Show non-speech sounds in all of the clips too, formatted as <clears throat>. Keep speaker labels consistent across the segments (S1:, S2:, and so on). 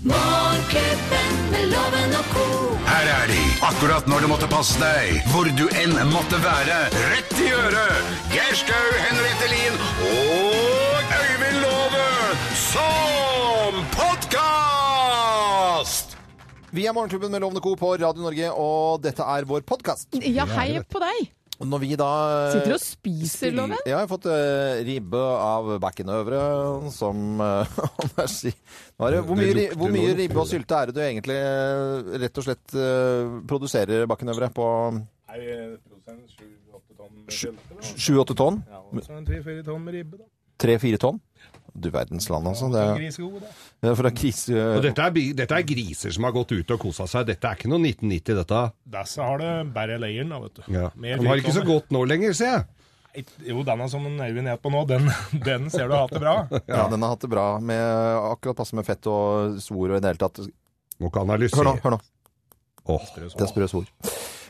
S1: Morgenklubben med loven og ko.
S2: Her er de, akkurat når du måtte passe deg, hvor du enn måtte være. Rett i øret! Geir Skau, Henriette Lien og Øyvind Låve som podkast!
S3: Vi er Morgenklubben med Lovende Co. på Radio Norge, og dette er vår podkast.
S4: Ja, hei på deg.
S3: Når vi da eh,
S4: Sitter og spiser, Loven.
S3: Ja, jeg har fått eh, ribbe av bekken øvre, som eh, <laughs> Anders sier. Nå er det- Hvor mye,
S5: Det
S3: ri-
S5: lukter
S3: hvor mye
S5: noe.
S3: ribbe og sylte er det du egentlig eh, rett og slett eh, produserer bakken øvre på
S6: Nei, eh, produsenten 7-8 tonn kjøtt. eller
S3: 7-8
S6: noe.
S3: tonn?
S6: Ja, og så en 3-4 tonn med ribbe, da.
S3: 3-4 tonn? Du verdens land, altså. Det er,
S6: Grisegode, da.
S3: det er fra grise...
S5: Og dette er, bi- dette er griser som har gått ut og kosa seg. Dette er ikke noe 1990, dette.
S6: Disse har det bare leiren, da, vet du.
S5: Ja.
S6: Mer
S5: Han har ikke så
S6: frikommer.
S5: godt nå lenger, ser jeg.
S6: Nei, Jo, denne som Øyvind er på nå, den, <laughs> den ser du har hatt det bra.
S3: Ja, den har hatt det bra med akkurat passe med fett og svor og i det hele tatt.
S5: Må ikke analysere.
S3: Hør nå, hør nå.
S5: Åh.
S3: Det er sprø svor.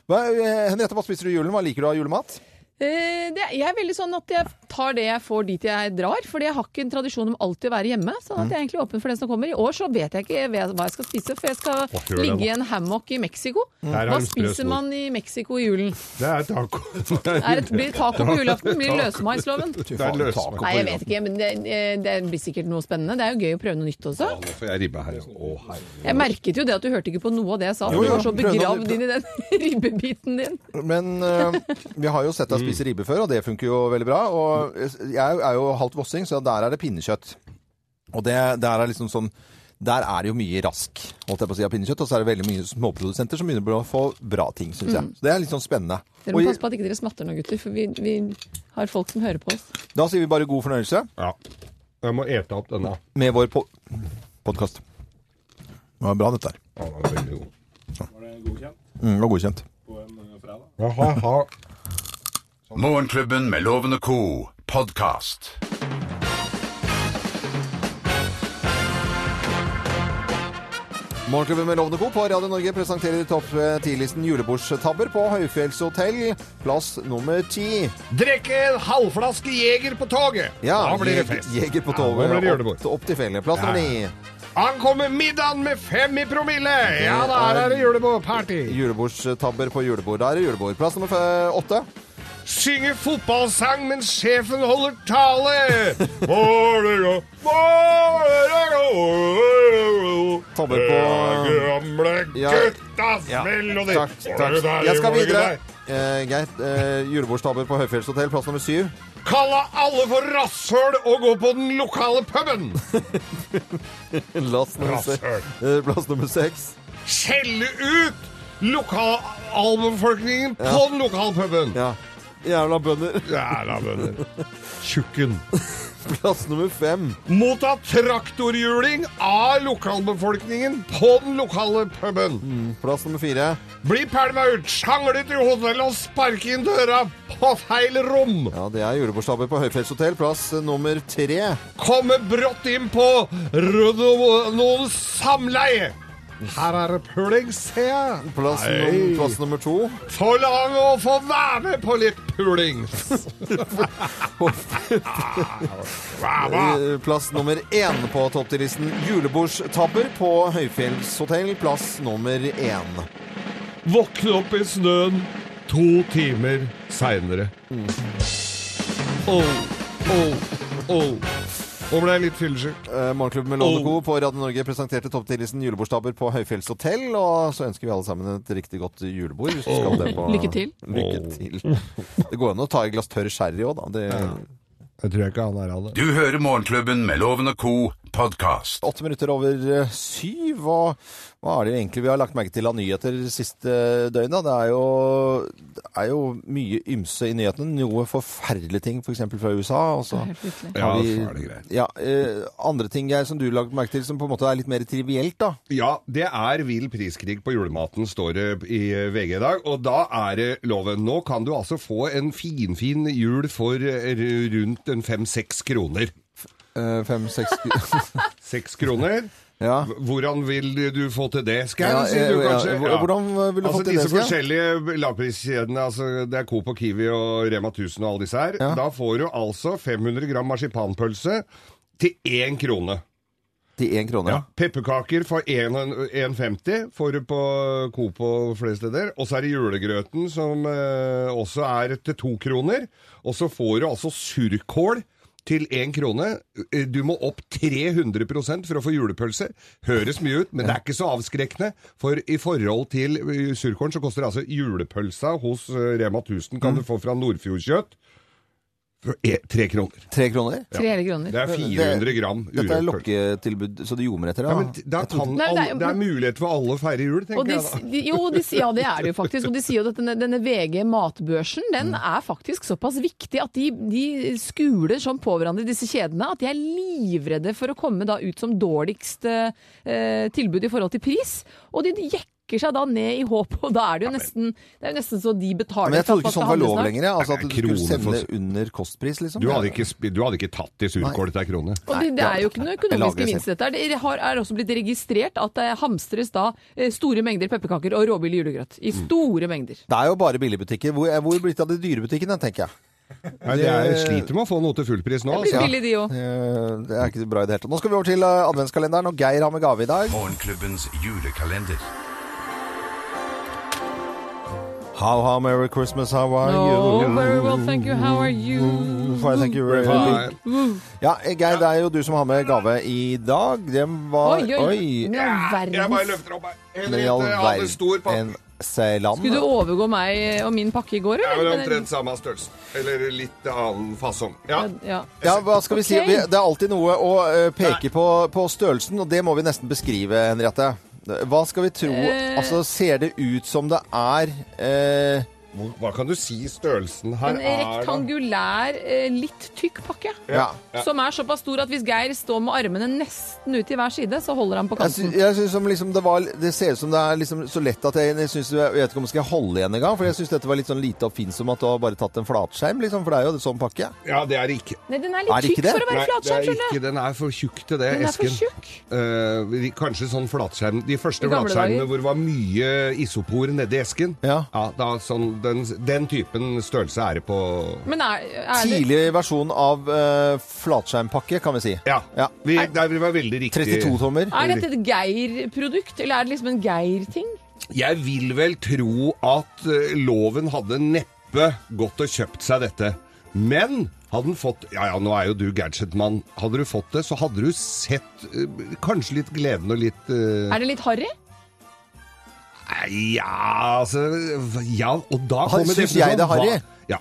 S3: Hva, eh, Henriette, hva spiser du i julen? Hva liker du av julemat?
S4: Eh, det, jeg er veldig sånn at jeg tar det jeg får dit jeg drar, fordi jeg har ikke en tradisjon om alltid å være hjemme. Sånn
S3: Mm.
S4: at jeg er egentlig åpen for det som kommer. I år så vet jeg ikke hva jeg skal spise, for jeg skal
S5: Å, gjør det,
S4: ligge i
S5: da.
S4: en hammock i Mexico.
S3: Mm.
S5: Der er
S4: Hva
S5: de sprø
S4: spiser
S5: spor.
S4: man i Mexico i julen?
S5: Det er taco. Det
S4: Er det, blir det taco på julaften?
S3: <laughs>
S4: Blir det løsmaisloven?
S5: Det er løs.
S3: Taco.
S4: Nei, jeg vet ikke, men det, eh, det blir sikkert noe spennende. Det er jo gøy å prøve noe nytt også.
S5: Nå får jeg ribbe her. Å, herregud.
S4: Jeg merket jo det at du hørte ikke på noe av det jeg
S3: Jo,
S4: sa, for du
S3: jo,
S4: var så
S3: prøv noe
S4: begravd inn i den <laughs> ribbebiten din.
S3: Men eh, vi har jo
S4: Mm.
S3: sett deg spise ribbe før, og det funker jo veldig bra. Og eh, jeg er jo halvt vossing, så der er det pinnekjøtt. Og det der er liksom sånn der er det jo mye rask holdt jeg på å si, av pinnekjøtt, og så er det veldig mye småprodusenter som begynner å få bra ting, syns jeg. Så det er litt sånn spennende.
S4: Mm. Dere må
S3: Og
S4: passe på at ikke dere smatter nå, gutter, for vi, vi har folk som hører på oss.
S3: da sier vi bare god fornøyelse
S5: Ja. Jeg må ete opp denne.
S3: med vår po podkast. Det var bra, dette her.
S5: Ja, den er veldig god.
S6: Var det godkjent
S3: Mm, det var godkjent.
S6: på en eh, fredag?
S5: Jaha, ha.
S2: Morgenklubben med Loven og Co. podkast.
S3: Morgenklubben med Lovende Co. på Radio Norge presenterer topp 10-listen julebordstabber på Høyfjellshotell, plass nummer ti.
S5: Drikke en halvflaske Jeger på toget. da blir det
S3: jeg-
S5: fest.
S3: Jeger på
S5: Ja,
S3: toget.
S5: nå blir det
S3: opp,
S5: julebord.
S3: opp til fjellet. Plass nummer ni.
S5: Ankommer middagen med fem i promille. Ja, der er det julebordparty.
S3: Julebordstabber på julebord. Der er julebord. Plass nummer fe- åtte.
S5: Synge fotballsang mens sjefen holder
S3: <laughs>
S5: tale. Vålerenga, Vålerenga
S3: Tabbe på-
S5: Det er Gamle
S3: Ja.
S5: guttas
S3: Ja.
S5: melodi.
S3: Takk.
S5: Var det
S3: takk.
S5: der,
S3: Jeg skal
S5: var det ikke
S3: videre.
S5: der?
S3: Eh, Greit. Eh, julebordstabber på Høyfjellshotell. Plass nummer syv.
S5: Kalla alle for rasshøl og gå på den lokale puben.
S3: <laughs> Plass nummer se-
S5: Rasshøl.
S3: eh, Plass nummer seks.
S5: Skjelle ut lokalalbefolkningen på den lokale puben.
S3: Ja. Jævla bønder. <laughs>
S5: Jævla bønder. Tjukken.
S3: Plass nummer fem.
S5: Motta traktorhjuling av lokalbefolkningen på den lokale puben.
S3: Plass nummer fire.
S5: Bli pælma ut, sjanglet i hotellet og sparke inn døra på feil rom.
S3: Ja, det er julebordstabber på Høyfjellshotell. Plass eh, nummer tre.
S5: Komme brått inn på Rodo- noen samleie. Her er det puling, ser jeg.
S3: Plass,
S5: Nei.
S3: num plass nummer to.
S5: Forlang å få være med på litt puling. Hva?
S3: Eh, Plass nummer én på topp 10-listen. Julebordstabber på Høyfjellshotell. Plass nummer én.
S5: Våkne opp i snøen to timer seinere. Oh, oh, oh. Nå ble jeg litt fyllesyk.
S3: Eh, Morgenklubben med
S5: Oh.
S3: Lovende Co. på Radio Norge presenterte topp 10-listen julebordstabber på Høyfjellshotell. Og så ønsker vi alle sammen et riktig godt julebord. Hvis du
S5: Oh.
S3: skal det på.
S4: Lykke til.
S3: Lykke til. Det går an å ta et glass tørr sherry òg, da. Det
S5: Jeg tror ikke han er av det.
S2: Du hører Morgenklubben med Loven og Co. podkast.
S3: Åtte minutter over eh, syv, og hva er det egentlig vi har lagt merke til av nyheter siste døgnet? da? Det er jo, det er jo mye ymse i nyhetene. Noe forferdelige ting, f.eks. fra USA. Og så
S4: Helt fryktelig.
S5: Ja,
S3: har vi-
S5: så er det greit.
S3: Ja, eh, andre ting Geir, som du lagt merke til, som på en måte er litt mer trivielt, da.
S5: Ja, det er vill priskrig på julematen, står det i VG i dag. Og da er det loven. Nå kan du altså få en finfin jul for eh, rundt en fem-seks kroner. Eh,
S3: Fem-seks
S5: Seks kroner?
S3: <laughs> Ja.
S5: Hvordan vil du få til det, skal
S3: Ja, eh,
S5: jeg sier du
S3: ja, ja.
S5: kanskje?
S3: Hvor- hvordan vil du få til
S5: altså,
S3: det,
S5: Disse
S3: Skau?
S5: forskjellige lavpriskjedene, altså det er Coop og Kiwi og Rema 1000 og alle disse her, da får du altså 500 gram marsipanpølse til én krone.
S3: 31 kroner.
S5: Ja. Pepperkaker for 1,50 får du på Coop og flere steder. Og så er det julegrøten, som eh, også er til to kroner. Og så får du altså surkål til én krone. Eh, Du må opp 300 for å få julepølse. Høres mye ut, men det er ikke så avskrekkende. For i forhold til eh, surkålen så koster altså julepølsa hos eh, Rema 1000 kan du få fra Nordfjordkjøtt for eh, tre kroner.
S3: Tre kroner?
S4: Tre hele kroner.
S5: Det er 400 gram
S3: Dette er
S5: urørt pølse.
S3: lokketilbud, så du gjorde meg etter det?
S5: Ja,
S3: da?
S5: men da kan
S4: Nei, det
S5: alle,
S4: er jo-
S5: det er mulighet for alle å feire jul, tenker
S4: Og de,
S5: jeg da.
S4: de, jo, de, sier- ja, det er det jo faktisk. Og de sier jo at denne, denne VG-matbørsen den
S3: Mm.
S4: er faktisk såpass viktig at de, de skuler sånn på hverandre, disse kjedene, at de er livredde for å komme da ut som dårligst eh, tilbud i forhold til pris. Og de jekker seg da ned i håp, og da er det jo nesten, det er jo nesten så de betaler
S3: Men jeg
S4: for at
S3: trodde ikke
S4: man
S3: sånn
S4: skal
S3: var lov
S4: handle snart.
S3: lenger. jeg. Altså at
S5: Nei,
S3: du skulle
S5: kroner for-
S3: sende under kostpris, liksom.
S5: Du hadde, ikke, sp- du hadde ikke tatt i surkål til ei krone.
S4: Og det, det er jo ikke noe
S3: Jeg lager
S4: økonomisk
S3: det
S4: gevinst i dette. her. Det har, er også blitt registrert at det hamstres da eh, store mengder pepperkaker og råbillig julegrøt. I
S3: Mm.
S4: store mengder.
S3: Det er jo bare billigbutikker. Hvor, eh, hvor blir det av de dyre butikkene, tenker jeg.
S5: Nei, det er, sliter med å få noe til fullpris nå.
S4: Blir
S5: Altså.
S4: billig de òg.
S3: Eh, Det er ikke bra i det hele tatt. Nå skal vi over til eh, adventskalenderen, og Geir har med gave i dag.
S2: Morgenklubbens julekalender.
S3: How, how, merry Christmas, how are
S4: Oh,
S3: you?
S4: very well, thank you. How are you?
S3: Fine, thank you very
S5: Nei,
S3: much. Ja, eh, Geir, det er jo du som har med gave i dag. Det var
S4: Oi, oi,
S3: Oi.
S4: Nå,
S5: Jeg bare
S4: verdens.
S5: løfter opp her.
S3: Men i all
S5: Henriette jeg hadde stor pakke.
S3: verdensland.
S4: Skulle du overgå meg og min pakke i går,
S5: Det er vel
S4: eller?
S5: omtrent samme størrelse. Eller litt annen fasong. Ja.
S4: Ja.
S3: Ja, hva skal vi si?
S4: Ok.
S3: Vi- Det er alltid noe å eh, peke på, på størrelsen, og det må vi nesten beskrive, Henriette. Hva skal vi tro?
S4: Eh.
S3: Altså, ser det ut som det er eh,
S5: Hvor- Hva kan du si størrelsen her
S4: En
S5: er? da?
S4: rektangulær, eh, litt tykk pakke.
S3: Ja.
S4: Som er såpass stor at hvis Geir står med armene nesten ut til hver side, så holder han på
S3: Jeg, sy
S4: kanten.
S3: jeg synes som liksom det, var, det ser ut som det er liksom så lett at jeg, jeg, synes, jeg vet ikke om jeg skal holde igjen engang. For jeg syns dette var litt sånn lite oppfinnsomt at du har bare tatt en flatskjerm, liksom. For det er jo en sånn pakke.
S5: Ja, det er det ikke.
S4: Nei, den er
S3: Er
S4: litt
S3: det ikke
S4: tykk
S3: det?
S4: for å være
S5: Nei, det
S4: flatskjerm,
S5: er
S4: skjønner du.
S5: ikke, den er for tjukk til det,
S4: Den er for
S5: esken.
S4: tjukk.
S5: Eh, vi- kanskje sånn flatskjerm De første
S4: I gamle
S5: flatskjermene
S4: dager.
S5: hvor det var mye isopor nedi esken.
S3: Ja.
S5: da, sånn, den, den typen størrelse er det på
S4: Men er, er det
S3: Tidlig versjon av eh, flatskjermpakke, kan vi si.
S5: Ja.
S3: Ja.
S5: Vi, der vil være veldig riktig.
S3: 32 tommer.
S4: er dette et Geir-produkt, eller er det liksom en Geir-ting?
S5: Jeg vil vel tro at eh, loven hadde neppe gått og kjøpt seg dette. Men hadde den fått Ja ja, nå er jo du gadgetmann. Hadde du fått det, så hadde du sett eh, kanskje litt gleden og litt eh,
S4: Er det litt harry?
S5: Nei, ja, altså Ja, og da
S3: Har-
S5: kommer det sånn,
S3: synes jeg det er
S5: hva-
S3: harry? <laughs>
S5: Ja.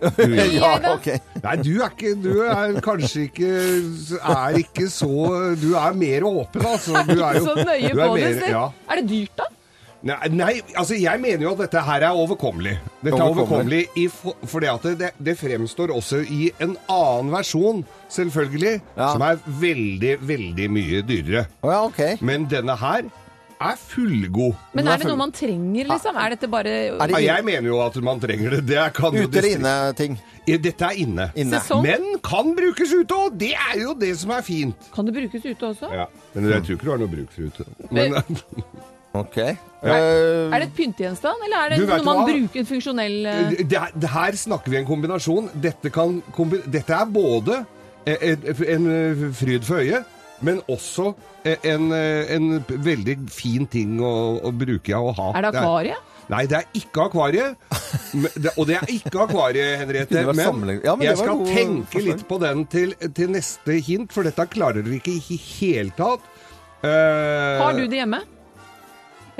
S5: Du,
S3: Ja,
S4: da?
S3: ok.
S5: nei, du er ikke Du er kanskje ikke Er ikke så Du er mer åpen, altså. Du er jo
S4: Så nøye
S5: du
S4: på
S5: er
S4: det.
S5: mer-
S4: Stig.
S5: ja.
S4: Er det dyrt, da?
S5: Nei, nei, altså jeg mener jo at dette her er overkommelig. Dette er
S3: Overkommelig.
S5: overkommelig i for, fordi at det, det fremstår også i en annen versjon, selvfølgelig,
S3: Ja.
S5: som er veldig, veldig mye dyrere.
S3: Å ja, ok.
S5: Men denne her er fullgod.
S4: Men er det noe man trenger, liksom? Er dette bare
S3: Er det
S5: ja, Jeg mener jo at man trenger det. det kan jo
S3: Ute eller
S5: distri-
S3: inne-ting?
S5: Ja, Dette er inne.
S3: Inne.
S4: Sesong?
S5: Men kan brukes ute òg! Det er jo det som er fint.
S4: Kan det brukes ute også?
S5: Ja. Men jeg tror ikke du har noe bruk for ute. <laughs> Men, eh,
S3: Ok. Eh,
S4: Er det et pyntegjenstand, eller er det
S5: Du vet
S4: noe man
S5: hva?
S4: bruker en funksjonell eh,
S5: det, er- det her snakker vi en kombinasjon. Dette, kan kombi Dette er både eh, en, en fryd for øyet, men også eh, en, en veldig fin ting å, å bruke og ha.
S4: Er det akvariet?
S5: Nei, det er ikke akvariet. Men det- Og det er ikke akvariet, Henriette.
S3: Kunne vært
S5: Men,
S3: sammenlign- Ja, men
S5: jeg
S3: det var
S5: skal
S3: gode
S5: tenke
S3: forslag.
S5: litt på den til, til neste hint, for dette klarer vi ikke i hele tatt. Eh,
S4: Har du det hjemme?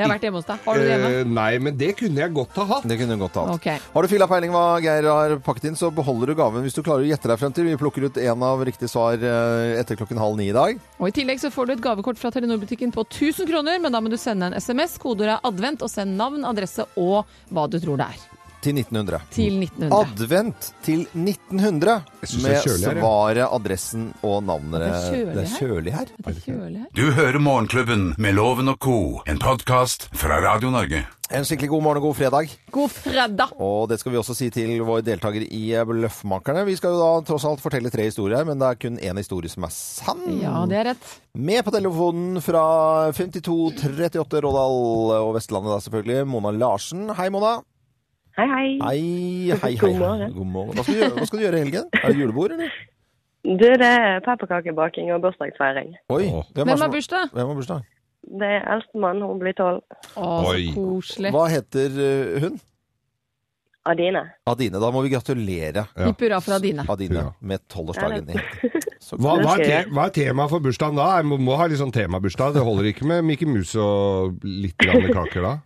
S4: Jeg har vært hjemme hos deg. Har du det hjemme?
S5: eh, nei, men det kunne jeg godt ha hatt.
S3: Det kunne du godt
S5: Eh,
S3: hatt.
S4: Ok.
S3: Har du fylla peiling hva Geir har pakket inn, så beholder du gaven hvis du klarer å gjette deg frem til. Vi plukker ut én av riktige svar eh, etter klokken halv ni i dag.
S4: Og I tillegg så får du et gavekort fra Telenor-butikken på 1000 kroner, men da må du sende en SMS. Kodeordet er 'advent', og send navn, adresse og hva du tror det er.
S3: Til 1900.
S4: Til 1900.
S3: Advent til 1900
S5: synes det
S3: med
S5: er kjølig her, ja.
S3: svaret, adressen og navnet.
S4: Det er kjølig her.
S3: kjølig her.
S4: Er det kjølig her?
S2: Du hører Morgenklubben med Loven og co., en podkast fra Radio Norge.
S3: En skikkelig god morgen og god fredag.
S4: God fredag!
S3: Og det skal vi også si til vår deltaker i eh, Bløffmakerne. Vi skal jo da tross alt fortelle tre historier, men det er kun én historie som er sann.
S4: Ja, det er rett.
S3: Med på telefonen fra 5238 Rådal og Vestlandet da selvfølgelig, Mona Larsen. Hei, Mona.
S7: Hei, hei.
S3: Hei, hei, hei.
S7: God morgen.
S3: God morgen. Hva skal du gjøre, hva skal du gjøre i helgen? Er det julebord, eller?
S7: Du, det er pepperkakebaking og bursdagsfeiring.
S3: Oi,
S5: Åh.
S3: hvem, er
S4: Hvem
S3: som-
S4: har bursdag?
S3: Hvem har bursdag?
S7: Det er eldstemann, hun blir tolv.
S4: Å, så
S5: Oi.
S4: koselig.
S3: Hva heter eh, hun?
S7: Adine.
S3: Adine. Da må vi gratulere
S5: Ja.
S4: Hipp hurra for Adine.
S3: Adine
S5: Ja.
S3: med tolvårsdagen din. Så
S5: Hva, hva,
S7: Det
S5: er
S7: skal
S5: te,
S7: jeg.
S5: hva er temaet for bursdagen da? Jeg må, må ha litt sånn temabursdag. Det holder ikke med Mikke Mus og litt grann kaker da.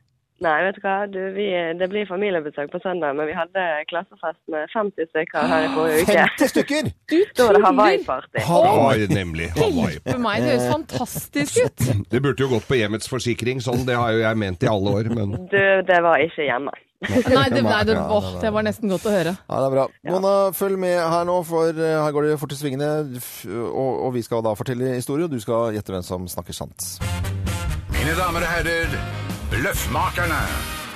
S7: Nei, vet du hva. Du, vi, det blir familiebesøk på søndag, men vi hadde klassefest med 50 stykker her i forrige uke.
S3: 50 stykker!
S4: Du
S7: Da var det
S4: tuller!
S7: Hawaii-party.
S5: Hawaii, nemlig. Hawaii.
S4: Hjelpe meg, det høres fantastisk ut.
S5: Det burde jo gått på hjemmets forsikring, sånn. Det har jo jeg ment i alle år, men
S7: Du, det var ikke hjemme.
S4: Nei, det, nei, det, åh, det var nesten godt å høre.
S3: Ja, det er bra. Mona, følg med her nå, for eh, her går det fort i svingene. f- Og, og vi skal da fortelle historie, og du skal gjette hvem som snakker sant.
S2: Mine damer og herrer, Løffmakerne.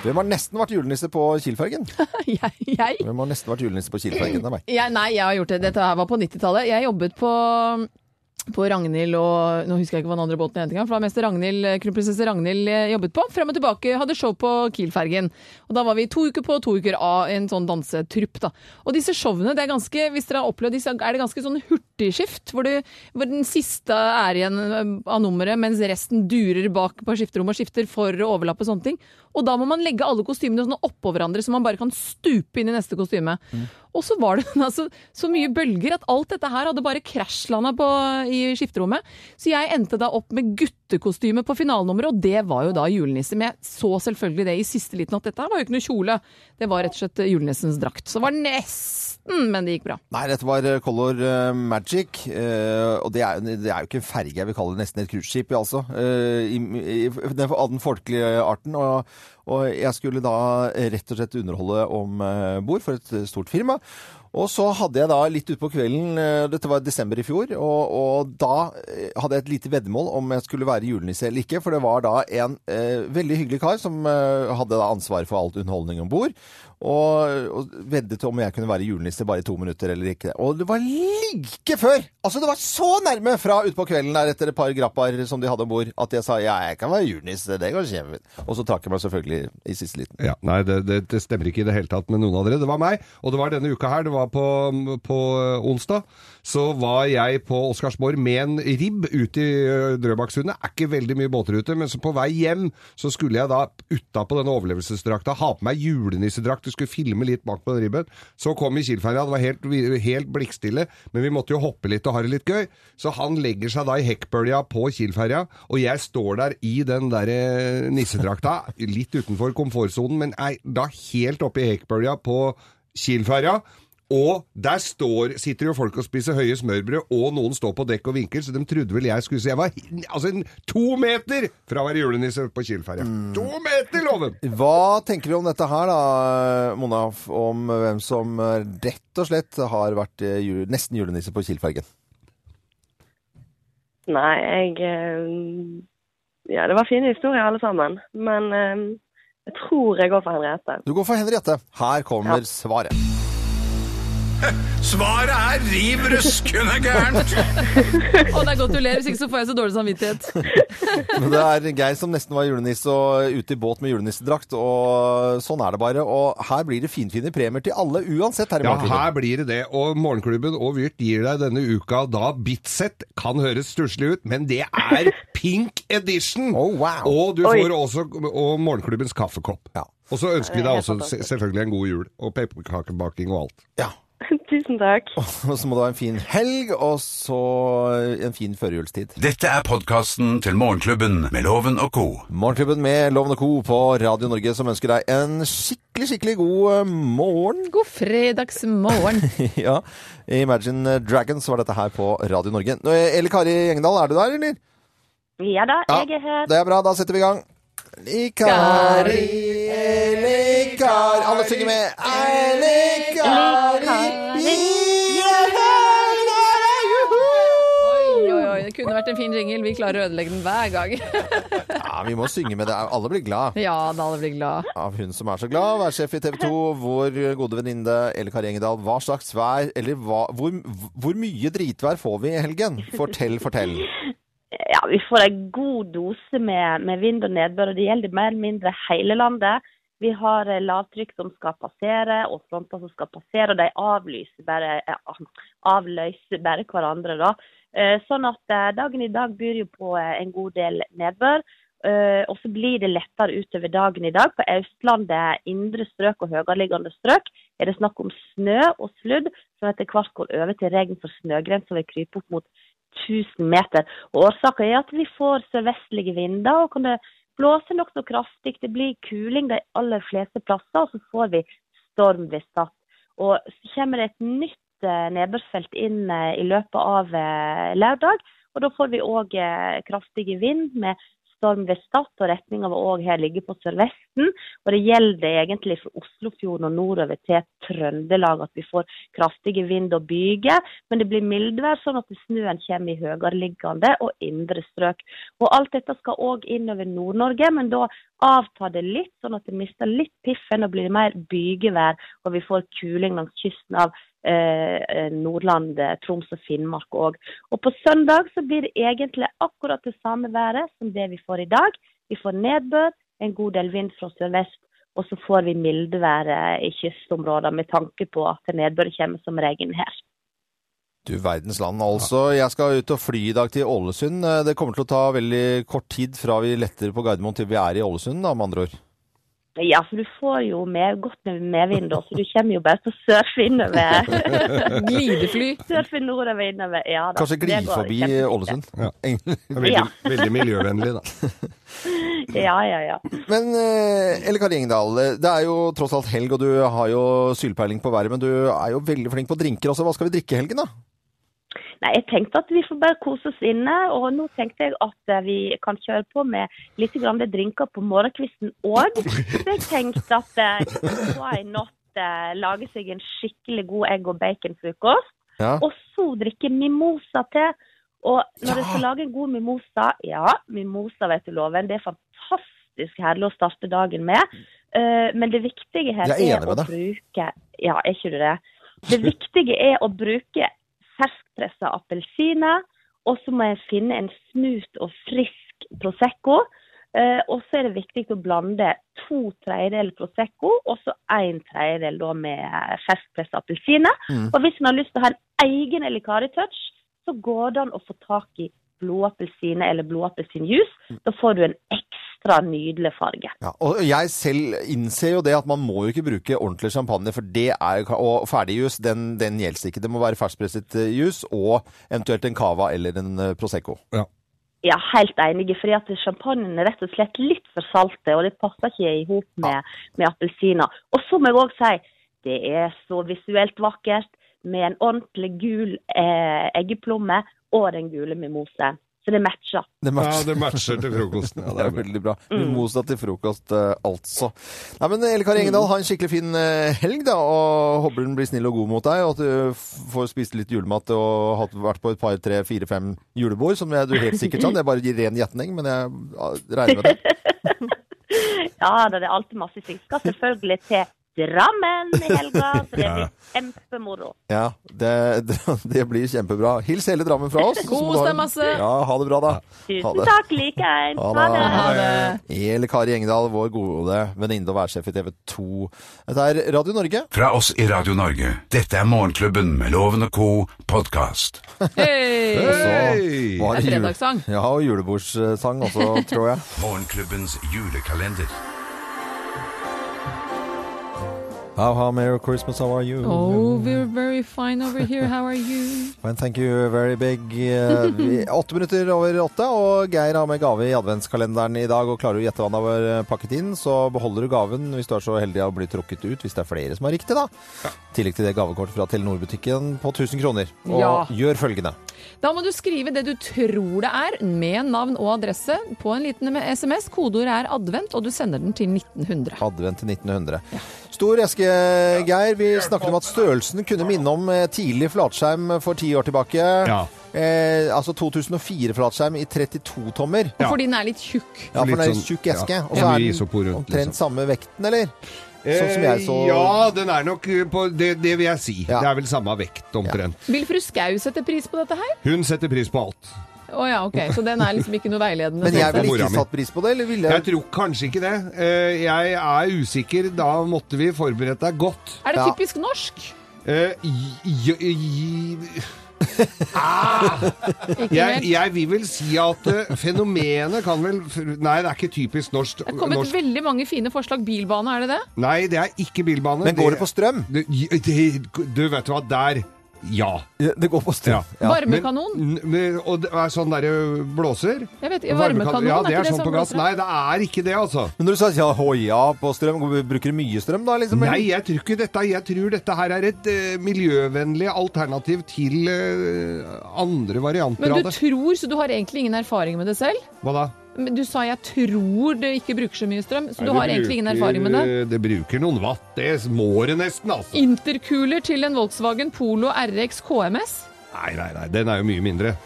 S3: Hvem har nesten vært julenisse på Kielfergen?
S4: <laughs> Jeg, jeg
S3: Hvem har nesten vært julenisse på Kielfergen? Det er meg.
S4: Jeg, nei, jeg har gjort det. Dette her var på 90-tallet. Jeg jobbet på på Ragnhild og Nå husker jeg ikke hva den andre båten het engang. For det var mest Ragnhild, kronprinsesse Ragnhild eh, jobbet på. Frem og tilbake hadde show på Kielfergen. Og da var vi to uker på, to uker av en sånn dansetrupp, da. Og disse showene, det er ganske Hvis dere har opplevd disse, er det ganske sånn hurtigskift. Hvor, du, hvor den siste er igjen eh, av nummeret, mens resten durer bak på skifterommet og skifter for å overlappe sånne ting. Og da må man legge alle kostymene sånn oppå hverandre, så man bare kan stupe inn i neste kostyme. Og så var det <laughs> altså, så mye bølger at alt dette her hadde bare krasjlanda på, i skifterommet. Så jeg endte da opp med guttekostyme på finalenummeret, og det var jo da julenisse. Men jeg så selvfølgelig det i siste liten at dette her var jo ikke noe kjole. Det var rett og slett julenissens drakt. Så det var nesten, men det gikk bra.
S3: Nei, dette var eh, Color eh, Magic. eh, og det er, jo- det er jo ikke en ferge, jeg vil kalle det nesten et cruiseskip, ja, altså. eh, i, i, den, av den folkelige arten. Og, og jeg skulle da rett og slett underholde om eh, bord for et eh, stort firma. Og så hadde jeg da litt utpå kvelden, eh, dette var i desember i fjor, og, og da eh, hadde jeg et lite veddemål om jeg skulle være julenisse eller ikke, for det var da en eh, veldig hyggelig kar som eh, hadde da ansvaret for alt underholdning om bord, og, og veddet om jeg kunne være julenisse bare i to minutter eller ikke. Og det var like før! Altså, det var så nærme fra utpå kvelden der etter et par grapper som de hadde om bord, at jeg sa ja, jeg kan være julenisse, det går kjempefint. Og så trakk jeg meg selvfølgelig i siste liten.
S5: Ja, nei, det, det, det stemmer ikke i det hele tatt med noen av dere. Det var meg, og det var denne uka her, det var på, på eh, onsdag. Så var jeg på Oscarsborg med en ribb ut i eh, Drøbaksundet. Er ikke veldig mye båtruter, men så på vei hjem så skulle jeg da utapå denne overlevelsesdrakta ha på meg julenissedrakt. Du skulle filme litt bak på den ribben. Så kom vi Kielferja, det var helt, vi- helt blikkstille, men vi måtte jo hoppe litt og ha det litt gøy. Så han legger seg da i hekkbølja på Kielferja, og jeg står der i den der eh, nissedrakta, litt utenfor komfortsonen, men er da helt oppe i hekkbølja på Kielferja. Og der står, sitter jo folk og spiser høye smørbrød, og noen står på dekk og vinker, så de trodde vel jeg skulle se Jeg var hin- altså, en- to meter fra å være julenisse på Kielferja. To meter, loven!
S3: Hva tenker du om dette her da, Mona, f- om hvem som eh, rett og slett har vært eh, ju- nesten julenisse på Kielfergen?
S7: Nei, jeg eh, Ja, det var fine historier alle sammen, men eh, jeg tror jeg går for Henriette. <laughs>
S3: Du går for Henriette. Her kommer svaret.
S2: Svaret er riv ruskende gærent.
S4: Og det er godt du ler, hvis ikke så får jeg så dårlig samvittighet.
S3: Men <laughs> det er Geir som nesten var julenisse og ute i båt med julenissedrakt, og sånn er det bare. Og her blir det finfine premier til alle uansett her i
S5: Ja,
S3: Morgenklubben.
S5: her blir det det. Og Morgenklubben og Vyrt gir deg denne uka da Bitset kan høres stusslig ut, men det er pink edition!
S3: Oh, wow.
S5: Og du
S7: Oi.
S5: får også og Morgenklubbens kaffekopp.
S3: Ja.
S5: Og så ønsker vi
S7: Ja,
S5: deg
S7: det er
S5: også se-
S7: fantastisk.
S5: selvfølgelig en god jul, og pepperkakebaking og alt.
S3: Ja.
S7: Tusen takk.
S3: Og så må det være en fin helg, og så en fin førjulstid.
S2: <laughs> Dette er podkasten til Morgenklubben med Loven og co.
S3: Morgenklubben med Loven og Co. på Radio Norge som ønsker deg en skikkelig, skikkelig god eh, morgen.
S4: <laughs>
S3: <laughs>
S4: God fredagsmorgen.
S3: ja. Imagine Dragons var dette her på Radio Norge. Nå, Eller Kari Gjengdal, er du der, eller?
S7: Ja da,
S3: Ja,
S7: jeg er her.
S3: Det er bra, da setter vi i gang. Likari, likari Alle synger med. Ei, likari, vi er her i dag, juhu!
S4: Oi, oi, oi. Det kunne vært en fin jingle. Vi klarer å ødelegge den hver gang.
S3: Ja, vi må synge med det. Alle blir glad
S4: Ja, da alle blir glad.
S3: av hun som er så glad. Vær sjef i TV 2, vår gode venninne Elle Kari Engedal. Hva slags vær, eller hva, hvor, hvor mye dritvær får vi i helgen? Fortell, fortell.
S8: Ja, vi får en god dose med, med vind og nedbør, og det gjelder mer eller mindre hele landet.
S7: Vi har eh, lavtrykk som skal passere, og fronter som skal passere. Og de avlyser bare, eh, ah, avløser bare hverandre, da. Eh, Sånn at eh, dagen i dag byr jo på eh, en god del nedbør. eh, Og så blir det lettere utover dagen i dag. På Østlandet, indre strøk og høyereliggende strøk er det snakk om snø og sludd, som etter hvert går over til regn for snøgrensa vil krype opp mot 1000 meter. Og Årsaken er at vi får sørvestlige vinder, og kan det blåse nokså kraftig. Det blir kuling de aller fleste plasser, og så får vi storm ved Stad. Og så kommer det et nytt eh, nedbørsfelt inn eh, i løpet av eh, lørdag, og da får vi òg kraftige vind med storm ved Stad, og retninga vår òg her ligger på sørvesten. Og det gjelder egentlig for Oslofjorden og nordover til Trøndelag at vi får kraftige vind og byger. Men det blir mildvær, sånn at snøen kommer i høyereliggende og indre strøk. Og alt dette skal òg innover Nord-Norge, men da avtar det litt, sånn at det mister litt piffen og blir mer bygevær. Og vi får kuling langs kysten av eh, eh, Nordland, eh, Troms og Finnmark òg. Og på søndag så blir det egentlig akkurat det samme været som det vi får i dag. Vi får nedbør, en god del vind fra sørvest, og så får vi mildvær eh, i kystområder med tanke på at nedbør kommer som regn her.
S3: Du verdens land, altså. Jeg skal ut og fly i dag til Ålesund. Eh, Det kommer til å ta veldig kort tid fra vi letter på Gardermoen til vi er i Ålesund, da, med andre ord.
S7: Ja, for du får jo med, godt med medvind, da, så du kommer jo bare til å surfe
S3: <laughs>
S7: innover.
S4: Glidefly.
S7: surfe nordover innover. Ja, da.
S3: Kanskje gli
S7: Det går
S3: forbi
S7: kjempefint,
S3: Ålesund.
S5: Ja.
S3: Egentlig.
S5: Det er Veldig,
S7: Ja.
S5: veldig miljøvennlig, da.
S7: det. <laughs> Ja, ja, ja.
S3: Men eh, Elle Kari Engdahl, eh, det er jo tross alt helg, og du har jo sylpeiling på været, men du er jo veldig flink på drinker også. Hva skal vi drikke i helgen, da?
S7: Nei, jeg tenkte at vi får bare kose oss inne, og nå tenkte jeg at eh, vi kan kjøre på med litt grann drinker på morgenkvisten òg. Så jeg tenkte at eh, <laughs> why not eh, lage seg en skikkelig god egg- og baconfrokost,
S3: Ja.
S7: og så drikke mimosa til. Og når jeg skal lage en god mimosa Ja, mimosa vet du loven, det er fantastisk herlig å starte dagen med. Eh, Men det viktige her
S3: Jeg er
S7: er
S3: enig
S7: å
S3: med deg.
S7: bruke Ja, er ikke du det? Det viktige er å bruke ferskpressa appelsiner, og så må jeg finne en smooth og frisk Prosecco. Eh, og så er det viktig å blande to tredjedeler Prosecco og så en tredjedel da med ferskpressa appelsiner.
S3: Mm.
S7: Og hvis en har lyst til å ha en egen elikari-touch, så går det an å få tak i blodappelsiner eller
S3: Mm.
S7: blodappelsinjuice. Da får du en ekstra nydelig farge.
S3: Ja, og jeg selv innser jo det at man må jo ikke bruke ordentlig champagne, for det er jo Og ferdigjus, den, den gjelder ikke. Det må være ferskpresset eh, jus, og eventuelt en cava eller en eh, prosecco.
S7: Ja, helt enige, fordi at champagnen er rett og slett litt for salte, og det passer ikke i hop med, med appelsiner. Og så må jeg òg si, det er så visuelt vakkert med en ordentlig gul eh, eggeplomme og den gule mimosen. Så det matcher.
S3: Det
S5: Ja,
S3: matcher.
S5: det matcher til frokosten. Ja,
S3: det er veldig bra.
S7: Mm.
S3: Mimosa til frokost, eh, altså. Nei, men Elle Kari
S7: Mm.
S3: Engedal, ha en skikkelig fin eh, helg, da. Og håper den blir snill og god mot deg, og at du eh, f- får spist litt julemat og hatt- vært på et par, tre, fire, fem julebord, som jeg, du helt sikkert sa. Det er bare ren gjetning, men jeg ja, regner
S7: <laughs>
S3: med det.
S7: Ja, da det er alltid masse ting. Skal selvfølgelig til Drammen i helga, så det blir kjempemoro.
S3: Ja, det, <laughs> det blir kjempebra. Hils hele Drammen fra oss. så må
S4: Kos
S3: du ha
S4: deg
S3: en-
S4: masse.
S3: Ja, ha det bra, da. Ha
S7: Tusen
S3: det.
S7: takk, likeens.
S3: Ha
S7: Ha
S3: det.
S7: det.
S4: Ha det.
S3: Elle Kari Engedal, vår gode venninne og værsjef i TV 2. Dette er Radio Norge.
S2: Fra oss i Radio Norge. Dette er Morgenklubben med Loven og Co. podkast.
S4: Hei!
S5: Hei!
S3: Var
S4: Det er
S3: jul-
S4: fredagssang.
S3: Ja, og julebordsang også, tror jeg.
S2: Morgenklubbens julekalender.
S3: <laughs> How, how merry Christmas, how are you?
S4: Oh, we're very fine over here. How are you?
S3: And thank you very big. Eh, vi- Åtte minutter over åtte, og Geir har med gave i adventskalenderen i dag. Og klarer du å gjette hva han har eh, pakket inn, så beholder du gaven hvis du er så heldig å bli trukket ut, hvis det er flere som har riktig, da. I tillegg til det gavekortet fra Telenor-butikken på 1000 kroner. Og
S4: Ja.
S3: gjør følgende.
S4: Da må du skrive det du tror det er, med navn og adresse, på en liten SMS. Kodeordet er advent, og du sender den til 1900.
S3: Advent til 1900. Stor eske, Geir. Vi snakket om at størrelsen kunne minne om eh, tidlig flatskjerm for ti år tilbake.
S5: Ja.
S3: Eh, altså 2004-flatskjerm i 32 tommer.
S5: Ja.
S4: Fordi den er litt tjukk.
S3: Ja, for
S5: Litt
S3: det er en
S5: sånn-
S3: tjukk
S5: ja.
S3: eske. Og
S5: Ja,
S3: så
S5: mye
S3: er
S5: isopor
S3: den
S5: rundt,
S3: omtrent
S5: liksom.
S3: samme vekten, eller? Sånn som jeg så
S5: Eh, Ja, den er nok på Det, det vil jeg si.
S3: Ja.
S5: Det er vel samme vekt omtrent.
S4: Vil fru Skau sette pris på dette her?
S5: Hun setter pris på alt.
S4: Å ja, ok. Så den er liksom ikke noe veiledende.
S3: Men jeg
S4: sånn
S3: ville
S5: Mora
S3: ikke
S5: mi.
S3: satt pris på det, eller ville
S5: Jeg tror kanskje ikke det. Eh, Jeg er usikker. Da måtte vi forberedt deg godt.
S4: sett. Er det
S3: Ja.
S4: typisk norsk?
S5: Eh, j- j- j-
S4: Ikke
S5: Jeg,
S4: helt.
S5: jeg vil vel si at eh, fenomenet kan vel Nei, det er ikke typisk norsk.
S4: Det er kommet
S5: norsk.
S4: veldig mange fine forslag. Bilbane, er det det?
S5: Nei, det er ikke bilbane.
S3: Men går det på strøm?
S5: det, det, Du vet du hva, der Ja.
S3: Det går på
S5: Ja.
S3: Ja.
S5: Men-
S4: Varmekanon?
S5: n- men- og det er sånn derre blåser?
S4: Jeg vet, ikke, varmekanon,
S5: ja, det
S4: ikke
S5: er sånn på
S4: samme
S5: gass.
S4: blåser?
S5: Nei, det er ikke det, altså.
S3: Men når du sa ja, hoi, ja på strøm, bruker du mye strøm da? liksom? eller?
S5: Nei, jeg tror ikke dette. Jeg tror dette her er et eh, miljøvennlig alternativ til eh, andre varianter
S4: Men
S5: av
S4: du
S5: det.
S4: tror, så du har egentlig ingen erfaring med det selv?
S5: Hva da?
S4: Men du sa 'jeg tror det ikke bruker så mye strøm', så du har egentlig ingen erfaring med
S3: eh,
S4: det?
S5: Det bruker noen watt. Det må det nesten, altså.
S4: Intercooler til en Volkswagen Polo RX KMS?
S5: Nei, nei, nei. Den er jo mye mindre.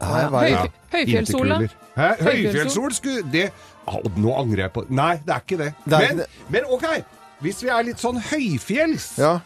S3: Nei, hva er det?
S4: Høy- Høyfjellssola?
S5: Intercooler. Hæ?
S4: Høyfjellssol?
S5: Høyfjellssol skulle det Au, Nå angrer jeg på Nei, det er ikke det.
S3: Det er
S5: men,
S3: ikke det.
S5: men OK. Hvis vi er litt sånn høyfjells,
S3: Ja.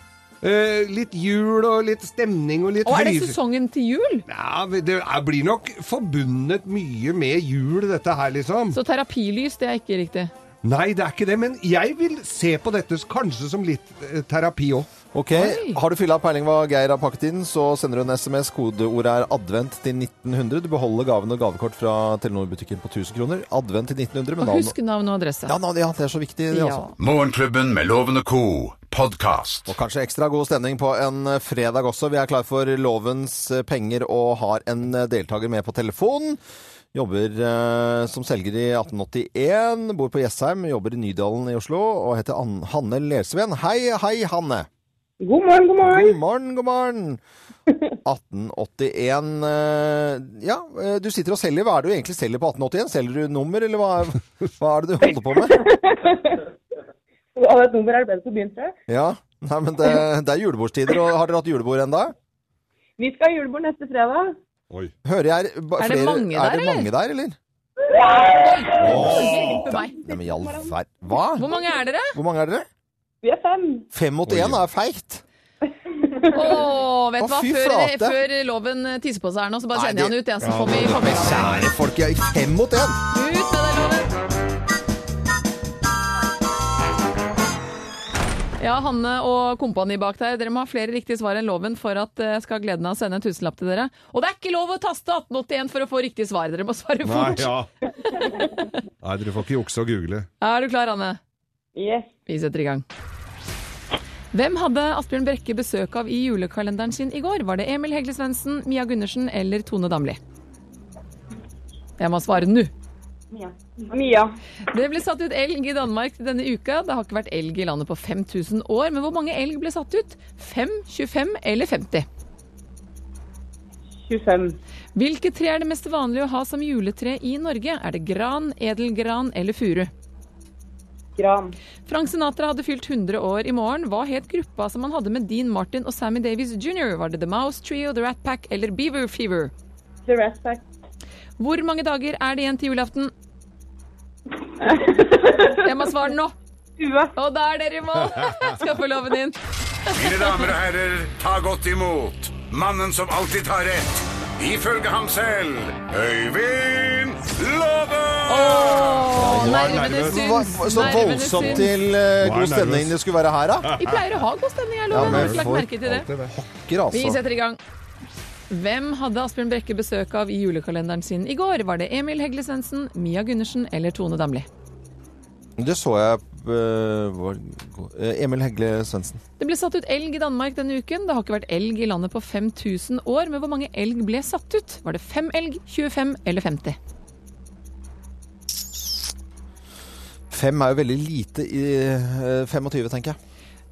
S5: eh, litt jul og litt stemning og litt
S4: Og er det
S5: høyfj-
S4: sesongen til jul?
S5: Ja, men det er- blir nok forbundet mye med jul, dette her, liksom.
S4: Så terapilys, det er ikke riktig.
S5: Nei, det er ikke det, men jeg vil se på dette kanskje som litt eh, terapi òg.
S3: Ok, Har du fylla peiling hva Geir har pakket inn, så sender du en SMS. Kodeordet er advent til 1900. Du beholder gaven og gavekort fra Telenor-butikken på 1000 kroner. Advent til 1900, men
S4: Og
S3: navn
S4: husk navn og adresse.
S3: ja, navn, ja, det er så viktig, det altså.
S4: Ja.
S3: også.
S2: Morgenklubben med Loven og Co. Podcast.
S3: Og kanskje ekstra god stemning på en eh, fredag også. Vi er klar for lovens eh, penger og har en eh, deltaker med på telefonen. Jobber eh, som selger i 1881, bor på Jessheim, jobber i Nydalen i Oslo og heter Ann Hanne Lersven. Hei, hei, Hanne!
S7: God morgen, god morgen.
S3: God morgen, god
S7: <laughs>
S3: morgen! 1881 eh, Ja, eh, du sitter og selger. Hva er det du egentlig selger på 1881? Selger du nummer, eller hva, hva er det du holder på med?
S7: <laughs> Du hadde et nummer er det bedre som begynte.
S3: Ja, Nei, men det, det er julebordstider, og har dere hatt julebord ennå?
S7: Vi skal ha julebord neste fredag.
S3: Hører jeg ba-
S4: Er det
S3: flere, er
S4: mange der,
S3: det
S4: eller?
S3: mange der, eller?
S4: Hjelpe meg.
S3: Nei, men i all ver... Hva?
S4: Hvor mange er dere?
S3: Hvor mange er dere?
S7: Vi er fem.
S3: Fem mot én er feigt.
S4: Å, vet
S3: Å,
S4: du hva?
S3: fy
S4: Før,
S3: flate.
S4: før loven tisser på seg her nå, så bare
S3: Nei,
S4: sender jeg han
S3: det-
S4: ut, jeg som kom i formiddag.
S3: Kjære folk, jeg er fem mot én!
S4: Ut med deg, loven! Ja, Hanne og kompani bak der, dere må ha flere riktige svar enn loven for at eh, jeg skal ha gleden av å sende en tusenlapp til dere. Og det er ikke lov å taste 1881 for å få riktig svar, dere må svare fort.
S5: Nei, dere får ikke jukse og google.
S4: Er du klar, Hanne?
S7: Yes.
S4: Vi setter i gang. Hvem hadde Asbjørn Brekke besøk av i julekalenderen sin i går? Var det Emil Hegle Svendsen, Mia Gundersen eller Tone Damli? Jeg må svare nå.
S7: Mia. Mia.
S4: Det ble satt ut elg i Danmark denne uka. Det har ikke vært elg i landet på 5000 år. Men hvor mange elg ble satt ut? 5, 25 eller 50?
S7: 25.
S4: Hvilke tre er det mest vanlige å ha som juletre i Norge? Er det gran, edelgran eller furu?
S7: Gran.
S4: Frank Sinatra hadde fylt 100 år i morgen. Hva het gruppa som han hadde med Dean Martin og Sammy Davies jr.? Var det The Mouse Trio, The Rat Pack eller Beaver Fever?
S7: The Rat Pack.
S4: Hvor mange dager er det igjen til julaften? Jeg må svare nå!
S7: Ua.
S4: Og da er dere i mål! Skal få loven inn.
S2: Mine damer og herrer, ta godt imot mannen som alltid tar rett, ifølge ham selv, Øyvind Låve!
S4: Åh,
S5: var
S4: nervene
S5: nervøs.
S3: Hva-
S4: syns.
S3: hva- Så
S4: nervene
S3: voldsomt
S4: syns.
S3: til eh,
S5: Hva er
S3: god stemning
S5: nervøs?
S3: det skulle være her, da.
S4: Vi pleier å ha god stemning her,
S3: Ja,
S4: loven.
S3: men
S4: Har du ikke lagt
S3: folk-
S4: merke til det?
S3: Pokker,
S4: Vi
S3: altså.
S4: setter i gang. Hvem hadde Asbjørn Brekke besøk av i julekalenderen sin i går? Var det Emil Hegle Svendsen, Mia Gundersen eller Tone Damli?
S3: Det så jeg eh, hvor- eh, Emil Hegle Svendsen.
S4: Det ble satt ut elg i Danmark denne uken. Det har ikke vært elg i landet på 5000 år. Men hvor mange elg ble satt ut? Var det 5 elg, 25 eller 50?
S3: Fem er jo veldig lite i eh, 25, tenker jeg.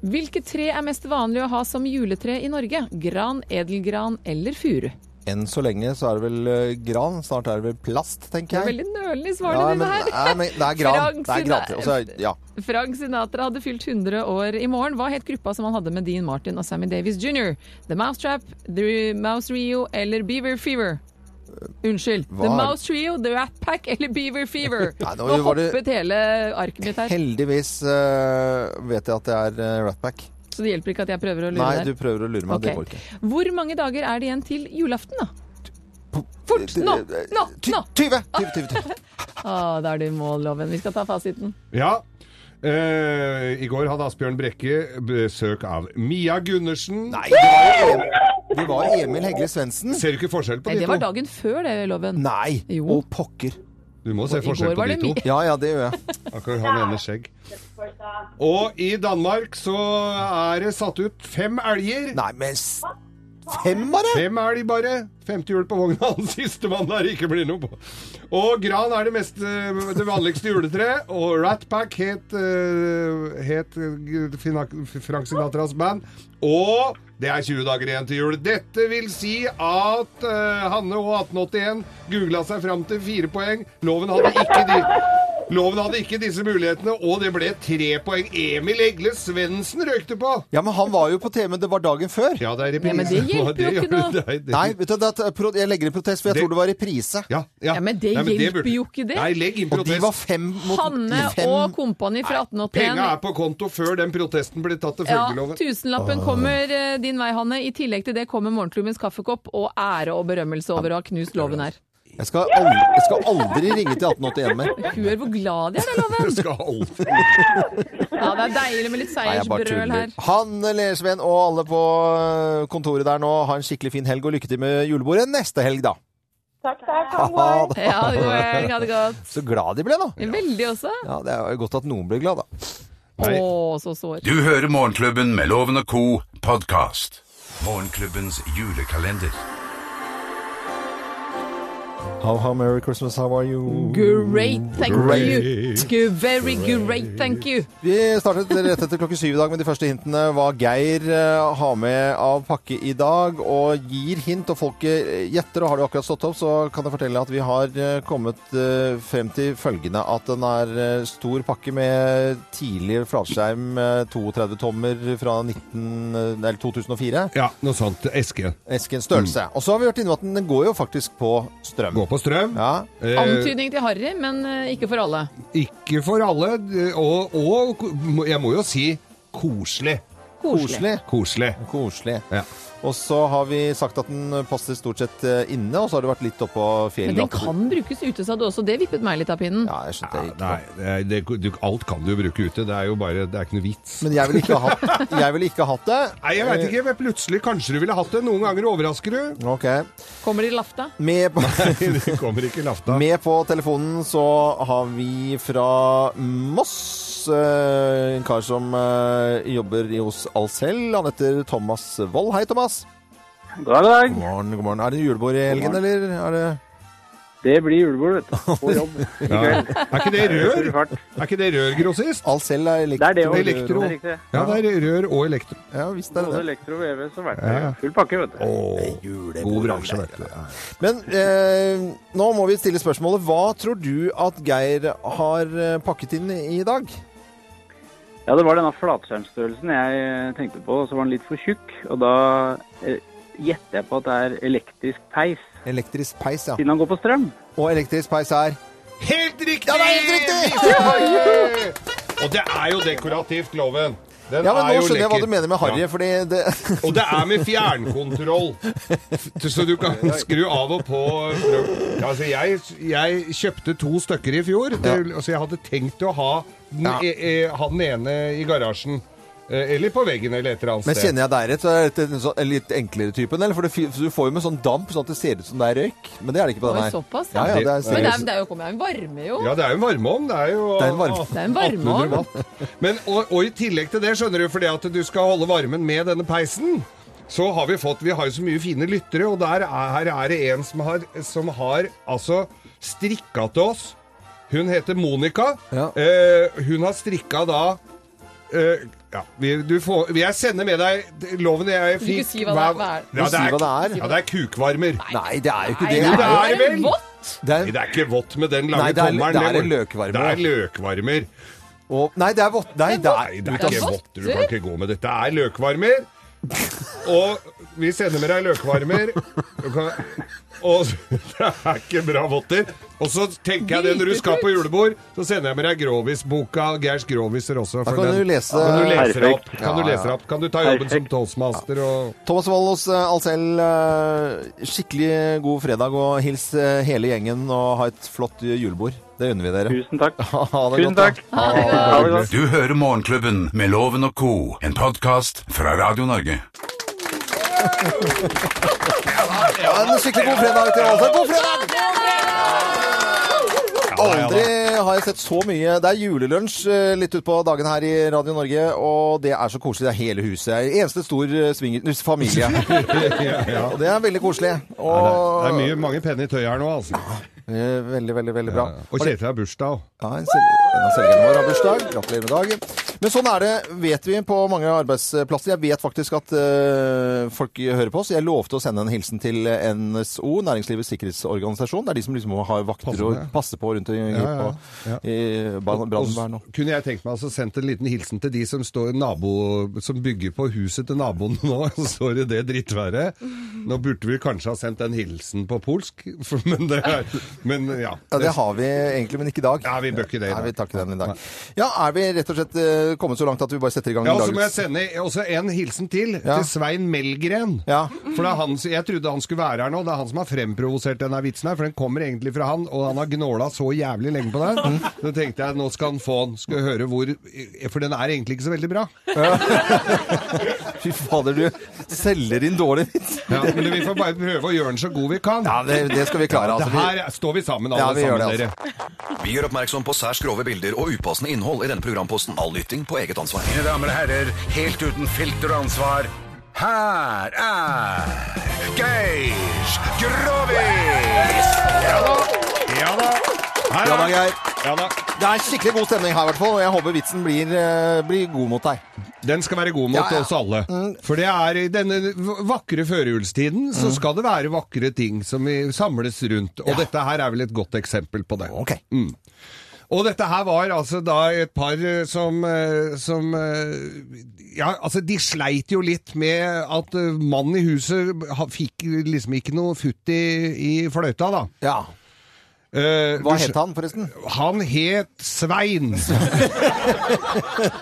S4: Hvilke tre er mest vanlig å ha som juletre i Norge? Gran, edelgran eller furu? Det
S3: Enn så lenge så er det vel eh, gran. Snart er det vel plast, tenker
S4: er
S3: jeg.
S4: veldig nølende
S3: Ja, men,
S4: svarene dine her.
S3: nei, men det er gran.
S4: <laughs> Frank
S3: Det er
S4: sin-
S3: gran. Og så er- ja.
S4: Frank Sinatra hadde fylt 100 år i morgen. Hva het gruppa som han hadde med Dean Martin og Sammy Davis jr.? The Mousetrap, The Mouse Rio eller Beaver Fever? Unnskyld.
S3: Eh, Hva
S4: The
S3: er-
S4: Mouse Trio, The Rat Pack eller
S3: <laughs>
S4: Beaver Fever?
S3: Nei, nå
S4: Nå
S3: var det-
S4: hoppet hele arket mitt her,
S3: Heldigvis eh, vet jeg at det er eh, Rat Pack.
S4: så det hjelper ikke at jeg prøver å lure
S3: Nei,
S4: deg.
S3: du prøver å lure meg. Det
S4: Ok.
S3: går ikke.
S4: Hvor mange dager er det igjen til julaften, da? Fort! Nå! Nå!
S3: Ty-
S4: Nå!
S3: 20! 20, 20, 20.
S4: Å, da er det i mål, Loven. Vi skal ta fasiten.
S5: Ja. Eh, I går hadde Asbjørn Brekke besøk av Mia Gundersen.
S3: Nei, det var, jo- det var Emil Hegle Svendsen.
S5: Ser du ikke forskjell på
S4: Nei,
S5: de
S4: det var
S5: to?
S4: dagen før det, Loven.
S3: Nei!
S4: Jo.
S3: Å, pokker.
S5: Du må se
S4: I
S5: forskjell
S4: går
S5: på
S4: var
S5: de
S4: det
S5: to.
S4: mye.
S3: Ja, ja, det gjør jeg.
S5: Akkurat han ene skjegg. Og i Danmark så er det satt ut fem elger.
S3: Nei, men s- Fem, bare?
S5: Fem elg bare. Femte hjul på vogna. <laughs> Han sistemann der ikke blir noe på. Og gran er det, mest, eh, det vanligste juletreet. Og Rat Pack het, eh, het eh, Fina- Frank Sinatras band. Og det er 20 dager igjen til jul. Dette vil si at eh, Hanne og 1881 googla seg fram til fire poeng. Loven hadde ikke de Loven hadde ikke disse mulighetene, og det ble tre poeng. Emil Egle Svendsen røykte på!
S3: Ja, men han var jo på TV, det var dagen før.
S5: <laughs> Ja, det er reprise.
S4: Ja, men det hjelper jo ikke
S5: gjør-
S4: da.
S5: Nei, det-
S3: Nei, vet du, det er, pro- jeg legger i protest, for jeg
S5: Det-
S3: tror det var reprise.
S5: Ja,
S4: Ja, men det hjelper jo ikke det.
S5: Nei, legg inn
S3: Og de var
S5: protest.
S3: fem mot
S4: Hanne
S3: fem.
S4: og kompani fra 1881.
S5: Penga er på konto før den protesten blir tatt til
S4: Ja,
S5: følgeloven.
S4: tusenlappen
S3: Ah.
S4: kommer eh, din vei, Hanne. I tillegg til det kommer morgenklubbens kaffekopp og ære og berømmelse over å ha knust loven her.
S3: Jeg skal, aldri, jeg skal aldri ringe til 1881 mer.
S4: Hør hvor glad de er,
S5: <laughs>
S4: da, Loven!
S5: Det skal alltid
S4: Ja, det er deilig med litt
S3: Nei, jeg bare
S4: seiersbrøl
S3: tuller.
S4: her.
S3: Hanne Lersven og alle på øh, kontoret der nå, ha en skikkelig fin helg og lykke til med julebordet neste helg, da.
S7: Takk, takk.
S3: Ha det.
S4: Ja, god helg, ha det godt.
S3: Så glad de ble, da.
S4: Veldig også.
S3: Ja, Det er jo godt at noen ble glad, da.
S4: Å,
S5: Nei.
S4: så sår.
S2: Du hører Morgenklubben med Loven og Co. podkast. Morgenklubbens julekalender.
S3: How, how merry Christmas, how are you?
S4: Great, thank you.
S5: Great.
S4: Good, Very great, thank you.
S3: Vi startet rett etter klokken syv i dag med de første hintene. Hva Geir eh, har med av pakke i dag, og gir hint, og folk eh, gjetter. Og har du akkurat stått opp, så kan jeg fortelle at vi har eh, kommet eh, frem til følgende at den er eh, stor pakke med tidlig flatskjerm, eh, 32 tommer fra 19, eh, eller 2004.
S5: Ja, noe sånt. Eske.
S3: Eskens størrelse. Og så har vi vært inne på at den går jo faktisk på strøm.
S5: Gå på strøm.
S3: Ja.
S5: Eh,
S4: Antydning til Harry, men eh, ikke for alle.
S5: ikke for alle. Og, og ko- jeg må jo si koselig.
S4: Koselig.
S5: Koselig.
S3: Koselig.
S5: Ja.
S3: Og så har vi sagt at den passer stort sett eh, inne, og så har det vært litt oppå fjellet.
S4: Men den kan brukes ute, sa du også. Det vippet meg litt av pinnen.
S3: Ja, jeg skjønte det
S5: Ja,
S3: ikke.
S5: nei, det, er- det, du, alt kan du jo bruke ute. Det er jo bare Det er ikke noe vits.
S3: Men jeg ville ikke, ha hatt- jeg ville ikke ha hatt det.
S5: Nei, jeg veit ikke. men Plutselig kanskje du ville hatt det. Noen ganger overrasker du.
S3: Ok.
S4: Kommer de lafta?
S3: Med på,
S5: Det kommer ikke lafta.
S3: med på telefonen så har vi fra Moss eh, en kar som eh, jobber i hos Alcel. Han heter Thomas Wold. Hei, Thomas.
S8: God dag.
S3: God morgen, god morgen. Er det julebord i helgen,
S8: morgen.
S3: eller? Er det...
S8: Det blir julebord,
S3: <laughs>
S8: vet du. På jobb.
S5: Ja. Er ikke det rør?
S8: Full fart.
S5: Er ikke det rørgrossist?
S3: Alcel er elektro.
S8: Det er det også.
S5: Elektro.
S8: Det er riktig.
S5: Ja, det er rør og elektro.
S3: Ja, visst er det
S8: Både
S3: det.
S8: elektro og VV, så vært
S5: Ja.
S8: det. Full pakke, vet du.
S5: god bransje, vet du.
S3: Men eh, nå må vi stille spørsmålet. Hva tror du at Geir har eh, pakket inn i dag?
S8: Ja, det var denne flatskjermstørrelsen jeg eh, tenkte på, og så var den litt for tjukk. Og da eh, gjetter jeg på at det er elektrisk peis,
S3: Elektrisk peis, ja.
S8: siden han går på strøm.
S3: Og elektrisk peis er
S5: Helt riktig!
S3: Ja, det er helt riktig!
S5: Og det er jo dekorativt, loven. Den
S3: Ja, men
S5: er
S3: Nå
S5: jo
S3: skjønner jeg hva
S5: lekker.
S3: du mener med Harry,
S5: Ja.
S3: fordi
S5: <laughs>
S3: det
S5: Og det er med
S3: <laughs>
S5: fjernkontroll, så du kan skru av og på. Ja, altså, jeg, jeg kjøpte to stykker i fjor, det, så jeg hadde tenkt å ha den,
S3: Ja.
S5: e, e, ha den ene i garasjen. eh, Eller på veggen, eller et eller annet
S3: Men kjenner jeg deg rett, så er dette en, sånn, en litt enklere typen, eller? For det, fi- for du får jo med sånn damp, sånn at det ser ut som det er røyk. Men det er det ikke på den
S4: Oi,
S3: her.
S4: såpass,
S3: ja. ja,
S4: ja.
S3: det er,
S4: Men det er,
S3: seriøst.
S4: det er jo kommet en varme, jo.
S5: Ja, det er jo en varmeovn. Det er jo
S3: Det er en varme-
S4: Det er en varmeovn.
S5: 1800 watt. Men, og, og i tillegg til det, skjønner du, fordi at du skal holde varmen med denne peisen, så har vi fått Vi har jo så mye fine lyttere, og der er, her er det en som har, som har altså strikka til oss. Hun heter Monica.
S3: Ja.
S5: Eh, hun har strikka da eh, ja, vi, du får, jeg sender med deg loven
S4: Du
S5: jeg
S4: kan
S5: fikk
S4: si hva det er- hva er-
S5: Ja,
S3: Du sier hva det er.
S5: Ja, det er kukvarmer. Nei,
S3: Nei, det er jo ikke
S4: Nei,
S3: det.
S5: Jo, det er det vel.
S4: vått!
S3: Det er,
S5: det er ikke vått med den lange
S3: Nei, det er-
S5: tommelen.
S3: det er
S5: må-
S3: en løkvarmer.
S5: Det er løkvarmer.
S3: og, nei, det er vått. Nei, det er,
S5: Nei,
S3: du
S5: det
S3: kan-
S5: er ikke
S4: vått.
S5: vått. Du kan ikke gå med dette. Det er løkvarmer. Og vi sender med deg løkvarmer. Du kan- Og <laughs> det er ikke bra votter. Og så tenker jeg det når du skal på julebord, så sender jeg med deg Grovis-boka. Geirs Groviser også.
S3: Da
S5: for
S3: kan
S5: den-
S3: du lese-
S5: kan du lese det opp.
S8: Perfekt.
S5: Kan du
S3: Ja, ja.
S5: lese det opp? Kan du ta jobben som
S8: Perfekt.
S5: toastmaster og
S3: Thomas Wallos eh, Alsell, eh, skikkelig god fredag, og hils eh, hele gjengen og ha et flott julebord. Det unner vi dere. <laughs>
S8: Tusen takk.
S3: Ha det
S8: Tusen
S3: godt, da.
S8: takk. Ha det godt.
S2: Du hører Morgenklubben med Loven og Co., en podkast fra Radio Norge.
S3: Ja, en skikkelig god fredag til alle. God fredag! Aldri har jeg sett så mye. Det er julelunsj eh, litt utpå dagen her i Radio Norge, og det er så koselig. Det er hele huset. Det er Eneste stor eh, swinger-
S5: <laughs>
S3: familie. Og det er veldig koselig.
S5: Det er- det
S3: Og
S5: er mye, mange penn i tøyet her nå, altså.
S3: Eh, veldig, veldig, veldig bra.
S5: Og Kjetil har bursdag òg.
S3: Ja, en, sel en av selgerne våre har bursdag. Gratulerer med dagen. Men sånn er det, vet vi, på mange arbeidsplasser. Jeg vet faktisk at eh, folk hører på oss. Jeg lovte å sende en hilsen til NSO, Næringslivets sikkerhetsorganisasjon. Det er de som liksom har vakter og passer på rundt i,
S5: ja, ja.
S3: på- i brann- brannvern og
S5: Kunne jeg tenkt meg altså sendt en liten hilsen til de som, står nabo, som bygger på huset til naboen nå, <laughs> så står det det drittværet. Nå burde vi kanskje ha sendt den hilsen på polsk, <laughs> for, men det er Men ja.
S3: ja, det har vi egentlig, men ikke i dag.
S5: Ja, vi bør ikke det i dag.
S3: Nei, vi tar ikke den i dag. Ja, er vi rett og slett eh, kommet så langt at vi bare setter i gang
S5: Ja, og så må jeg
S3: dagens
S5: sende også en hilsen til,
S3: Ja.
S5: til Svein Melgren.
S3: Ja.
S5: For det er han, som- jeg trodde han skulle være her nå, det er han som har fremprovosert denne vitsen her, for den kommer egentlig fra han, og han har gnåla så jævlig lenge på
S3: Mm.
S5: den. Så tenkte jeg, nå skal han få den, skal høre hvor, for den er egentlig ikke så veldig bra.
S3: Fy fader, du selger inn dårlig vits!
S5: Ja, men vi får bare prøve å gjøre den så god vi kan.
S3: Ja, det, det skal vi klare.
S5: det
S3: Altså. Vi-
S5: her står vi sammen, alle
S3: Ja, vi gjør
S5: sammen,
S3: det, altså.
S5: dere.
S9: Vi gjør oppmerksom på særs grove bilder og upassende innhold i denne programposten. All lytting på eget ansvar.
S2: Mine damer og herrer, helt uten filter og ansvar, her er Geir Grovis!
S5: Ja da. Her,
S3: Ja da, Geir.
S5: Ja da.
S3: Det er skikkelig god stemning her, i hvert fall. Og jeg håper vitsen blir, eh, blir god mot deg.
S5: Den skal være god mot
S3: Ja, ja. Mm.
S5: oss alle. For det er i denne v- vakre førjulstiden, så skal det være vakre ting som vi samles rundt. Og dette her er vel et godt eksempel på det. Mm.
S3: Ok.
S5: Og dette her var altså da et par eh, som, eh, som eh, Ja, altså de sleit jo litt med at eh, mannen i huset ha- fikk liksom ikke noe futt i, i fløyta, da.
S3: Ja.
S5: Eh,
S3: Hva
S5: du skj-
S3: het han, forresten?
S5: Han het Svein.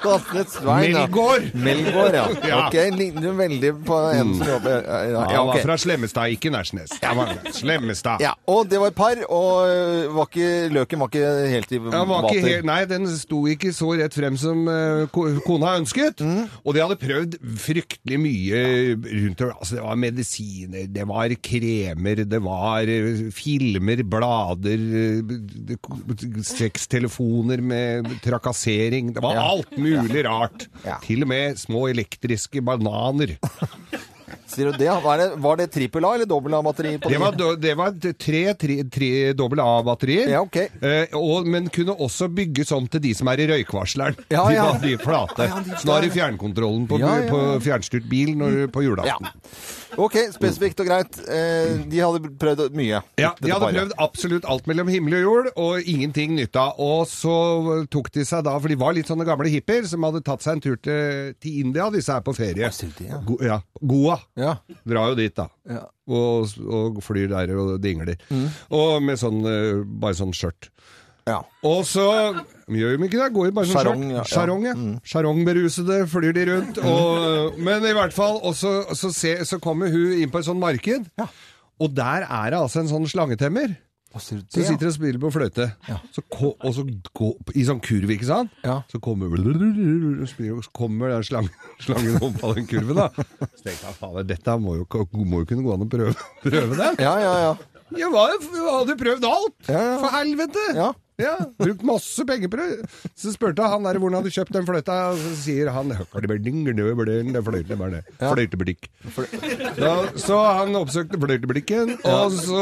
S3: Gasnet Svein. ja.
S5: Melgaard.
S3: Melgaard, ja.
S5: <laughs> Ja.
S3: Ok, ligner veldig på en som jobber <laughs> eh, ja,
S5: Han
S3: ok.
S5: var fra Slemmestad, ikke Nærsnes. Han var Slemmestad.
S3: Ja, og det var et par, og øh, var ikke, løken var ikke helt i
S5: Han var ikke helt,
S3: vater.
S5: nei, den sto ikke så rett frem som eh, ko- kona ønsket.
S3: Mm.
S5: Og de hadde prøvd fryktelig mye rundt om. Altså, det var medisiner, det var kremer, det var eh, filmer, blader, eh, b- b- sextelefoner med trakassering. Det var
S3: Ja.
S5: alt mulig rart.
S3: Ja.
S5: Til og med små elektriske bananer.
S3: Sier du det? Var det, var det trippel A eller dobbel A-batteri? på
S5: Det
S3: den?
S5: var, do- det var tre, tre, tre dobbel A-batterier,
S3: Ja, ok.
S5: eh, og, men kunne også bygges om til de som er i røykvarsleren.
S3: Ja,
S5: de
S3: ja.
S5: var de flate.
S3: Ja, de-
S5: Så da har du fjernkontrollen på,
S3: Ja, ja.
S5: på fjernstyrt bil når, du- på
S3: Ja.
S5: julaften.
S3: Ok, spesifikt og greit. Eh, De hadde prøvd mye.
S5: Ja, de
S3: dette
S5: hadde
S3: paret.
S5: prøvd absolutt alt mellom himmel og jord, og ingenting nytta. Og så tok de seg da, for de var litt sånne gamle hippier som hadde tatt seg en tur til, til India, disse her på ferie.
S3: Sylte, ja.
S5: Go, ja. Goa.
S3: Ja.
S5: Drar jo dit, da.
S3: Ja. Mm.
S5: Og, og flyr der og dingler. Og med sånn, eh, bare sånn skjørt.
S3: Ja.
S5: Og så gjør de ikke det, går jo bare sånn
S3: Sarong, ja, Mm. ja.
S5: skjørt. Sarong, ja. Sarongberusede flyr de rundt. Og, men i hvert fall, og så, så, se, så kommer hun inn på et sånt marked,
S3: Ja.
S5: og der er det altså en sånn slangetemmer.
S3: Hva sier du
S5: Så
S3: det? ja?
S5: sitter og spiller på fløyte, så ko, og så gå, i sånn kurv, ikke sant?
S3: Ja.
S5: Så kommer, spiller, og så kommer den slangen, slangen opp av den kurven, da. Så tenkte jeg, faen, dette må jo, må jo kunne gå an å prøve, <laughs> prøve det.
S3: Ja, ja, ja.
S5: Jeg var, jeg hadde prøvd alt!
S3: Ja, ja.
S5: For helvete!
S3: Ja.
S5: Ja, Brukt masse penger på det. Så spurte jeg han der hvor han hadde kjøpt den fløyta, og så sier han
S3: Ja.
S5: Fløyteblikk. Ja, så han oppsøkte fløyteblikken, og, så,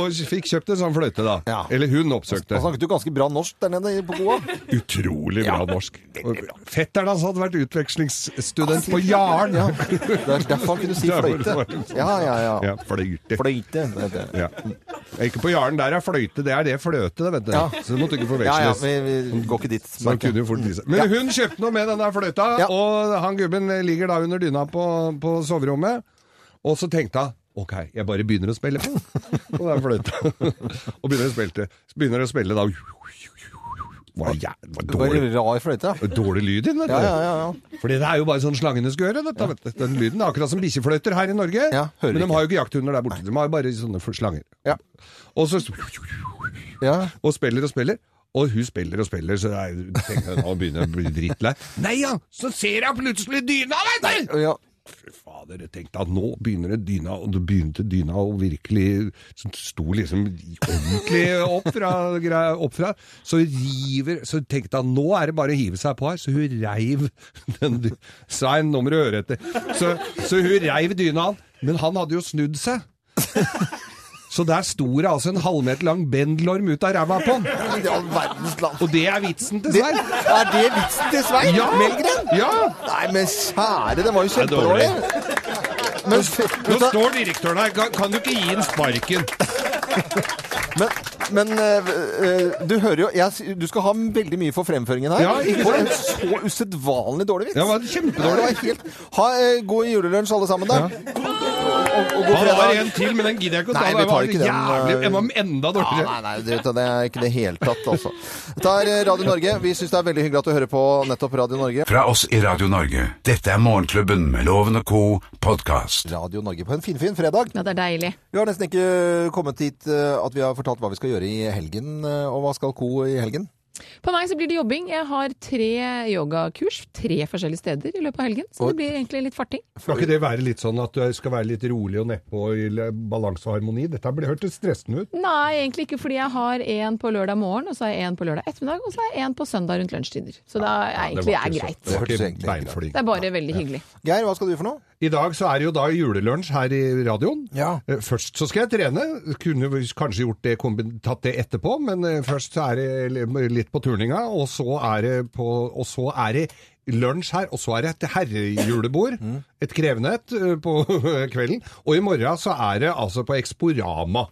S5: og fikk kjøpt en sånn fløyte, da.
S3: Ja.
S5: Eller hun oppsøkte.
S3: Da snakket du ganske bra norsk der nede på Goa.
S5: Utrolig bra norsk. Og Fetteren hans hadde vært utvekslingsstudent på Jaren.
S3: Ja. Det er derfor han kunne
S5: <laughs>
S3: si
S5: Derfor
S3: fløyte.
S5: var det sånn.
S3: Ja, ja, ja.
S5: Ja, fløyte.
S3: Fløyte. det heter det.
S5: Ja. Ikke på Jaren, der er fløyte. Det er det fløte, det, vet du.
S3: Ja.
S5: Så det måtte ikke
S3: Ja, ja,
S5: forveksles.
S3: vi, vi går ikke dit.
S5: Så han kunne jo fort vise. Men hun kjøpte noe med denne fløyta,
S3: Ja.
S5: og han gubben ligger da under dyna på, på soverommet. Og så tenkte han ok, jeg bare begynner å spille på den fløyta. <laughs> og begynner å spille, begynner å spille da. Var jæ- var
S3: Det var
S5: dårlig,
S3: en rar fløyte. ja.
S5: dårlig lyd i den. vet du.
S3: Ja, ja, ja, ja.
S5: Fordi det er jo bare sånn slangene skal gjøre, dette, vet du. Den lyden er akkurat som bikkjefløyter her i Norge.
S3: Ja, hører
S5: men de
S3: ikke.
S5: har jo ikke jakthunder der borte. De har jo bare sånne fl- slanger.
S3: Ja.
S5: Og så
S3: ja.
S5: og spiller og spiller. Og hun spiller og spiller, så jeg tenker jeg nå begynner jeg å bli drittlei. Nei ja, så ser jeg plutselig dyna, veit du!
S3: ja.
S5: Fy fader, jeg tenkte at nå begynner det dyna, og det begynte dyna å virkelig som Sto liksom ordentlig opp fra, greia- opp fra. Så river Så tenkte jeg nå er det bare å hive seg på her, så hun reiv den dy- Svein, nå må du høre etter. Så, så hun reiv dyna, men han hadde jo snudd seg. Så der sto det altså en halvmeter lang bendelorm ut av ræva på han.
S3: Men det er all verdens land.
S5: Og det er vitsen til
S3: Det,
S5: Svein.
S3: er det vitsen til Svein
S5: Ja!
S3: Melgren?
S5: Ja!
S3: Nei, men kjære, den var jo
S5: er dårlig.
S3: kjempedårlig. Men,
S5: Nå
S3: men,
S5: står direktøren her. Kan, kan du ikke gi ham sparken?
S3: men, men eh, eh, du hører jo jeg, s- Du skal ha veldig mye for fremføringen her.
S5: Ja, ikke
S3: for en
S5: sant?
S3: så usedvanlig dårlig vits.
S5: Ja, det var
S3: Det
S5: kjempedårlig.
S3: var helt... Ha eh, god julelunsj, alle sammen, da. Og, og god
S5: Han har
S3: fredag.
S5: en til, men den gidder jeg ikke å ta.
S3: Nei, vi
S5: Den var
S3: tar ikke den, eh,
S5: jævlig- Den var enda
S3: Ja,
S5: dårligere.
S3: nei, nei, du vet det, det er ikke det hele tatt, altså. Dette er eh, Radio Norge. Vi syns det er veldig hyggelig at du hører på nettopp Radio Norge.
S2: Fra oss i Radio Norge. Dette er Morgenklubben med Loven og co. podkast.
S3: Radio Norge på en finfin fin fredag.
S4: Ja, det er deilig.
S3: Vi har nesten ikke kommet dit eh, at vi har fortalt hva vi skal gjøre i helgen. eh, Og hva skal Co i helgen?
S4: På meg så blir det jobbing. Jeg har tre yogakurs tre forskjellige steder i løpet av helgen, så
S3: Oi.
S4: det blir egentlig litt farting.
S5: Skal ikke det være litt sånn at du skal være litt rolig og nedpå i balanse og harmoni? Dette hørtes stressende ut.
S4: Nei, egentlig ikke, fordi jeg har en på lørdag morgen, og så har jeg en på lørdag ettermiddag, og så har jeg en på søndag rundt lunsjtider. Så det er egentlig er greit.
S5: Det var
S3: Det hørtes
S5: ikke
S3: egentlig greit.
S5: beinflink.
S4: Det er bare veldig hyggelig.
S3: Geir, hva skal du for noe?
S5: I dag så er det jo da julelunsj her i radioen.
S3: Ja.
S5: Eh, Først så skal jeg trene. Kunne vi kanskje gjort det, kombi- tatt det etterpå, men eh, først så er det li- litt på turninga, og så er det, på, og så er det lunsj her, og så er det et herrejulebord.
S3: Mm.
S5: Et krevende et eh, på <laughs> kvelden. Og i morgen så er det altså på Exporama.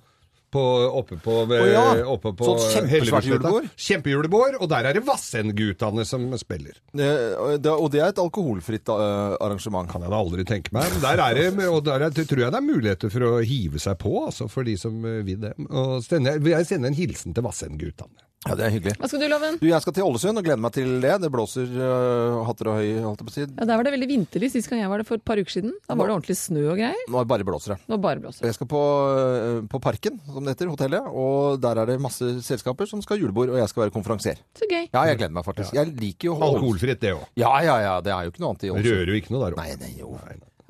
S5: På, oppe på, ved,
S3: Å ja,
S5: oppe på
S3: sånt kjempesvært
S5: Hellebusletta.
S3: julebord.
S5: Kjempejulebord, og der er det Vassendgutane som spiller.
S3: Eh, det- Og det er et alkoholfritt eh, arrangement.
S5: Kan jeg da aldri tenke meg. Men der er det, og der er, tror jeg det er muligheter for å hive seg på, altså, for de som eh, vil det. Og sende, jeg sender en hilsen til Vassendgutane.
S3: Ja, det er hyggelig.
S4: Hva skal du, Loven?
S3: Du, jeg skal til Ålesund og gleder meg til det. Det blåser eh, hatter og høy, holdt jeg på å si.
S4: Ja, Der var det veldig vinterlig sist gang jeg var der for et par uker siden. Da var det ordentlig snø og greier.
S3: Nå bare blåser det.
S4: Nå bare blåser det.
S3: Jeg skal på, eh, på Parken, som det heter, hotellet, og der er det masse selskaper som skal ha julebord, og jeg skal være konferansier.
S4: Så gøy.
S3: Ja, jeg gleder meg faktisk. Jeg liker jo
S5: Alkoholfritt, det òg.
S3: Ja, ja, ja. Det er jo ikke noe annet i Ålesund.
S5: Rører jo ikke noe der
S3: Nei,
S5: òg.
S3: nei, jo.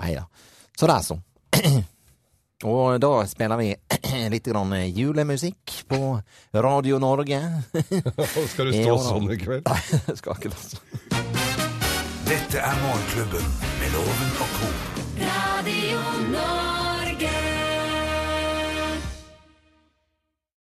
S3: Nei da. Så det er sånn. <clears throat> Og da spiller vi <clears throat> litt grann julemusikk på Radio Norge. <laughs>
S5: Skal du
S3: Ja,
S5: stå
S3: da.
S5: sånn i kveld?
S3: Nei, jeg skal ikke det. altså.
S2: Dette er Morgenklubben med Loven og co.
S1: Radio Norge.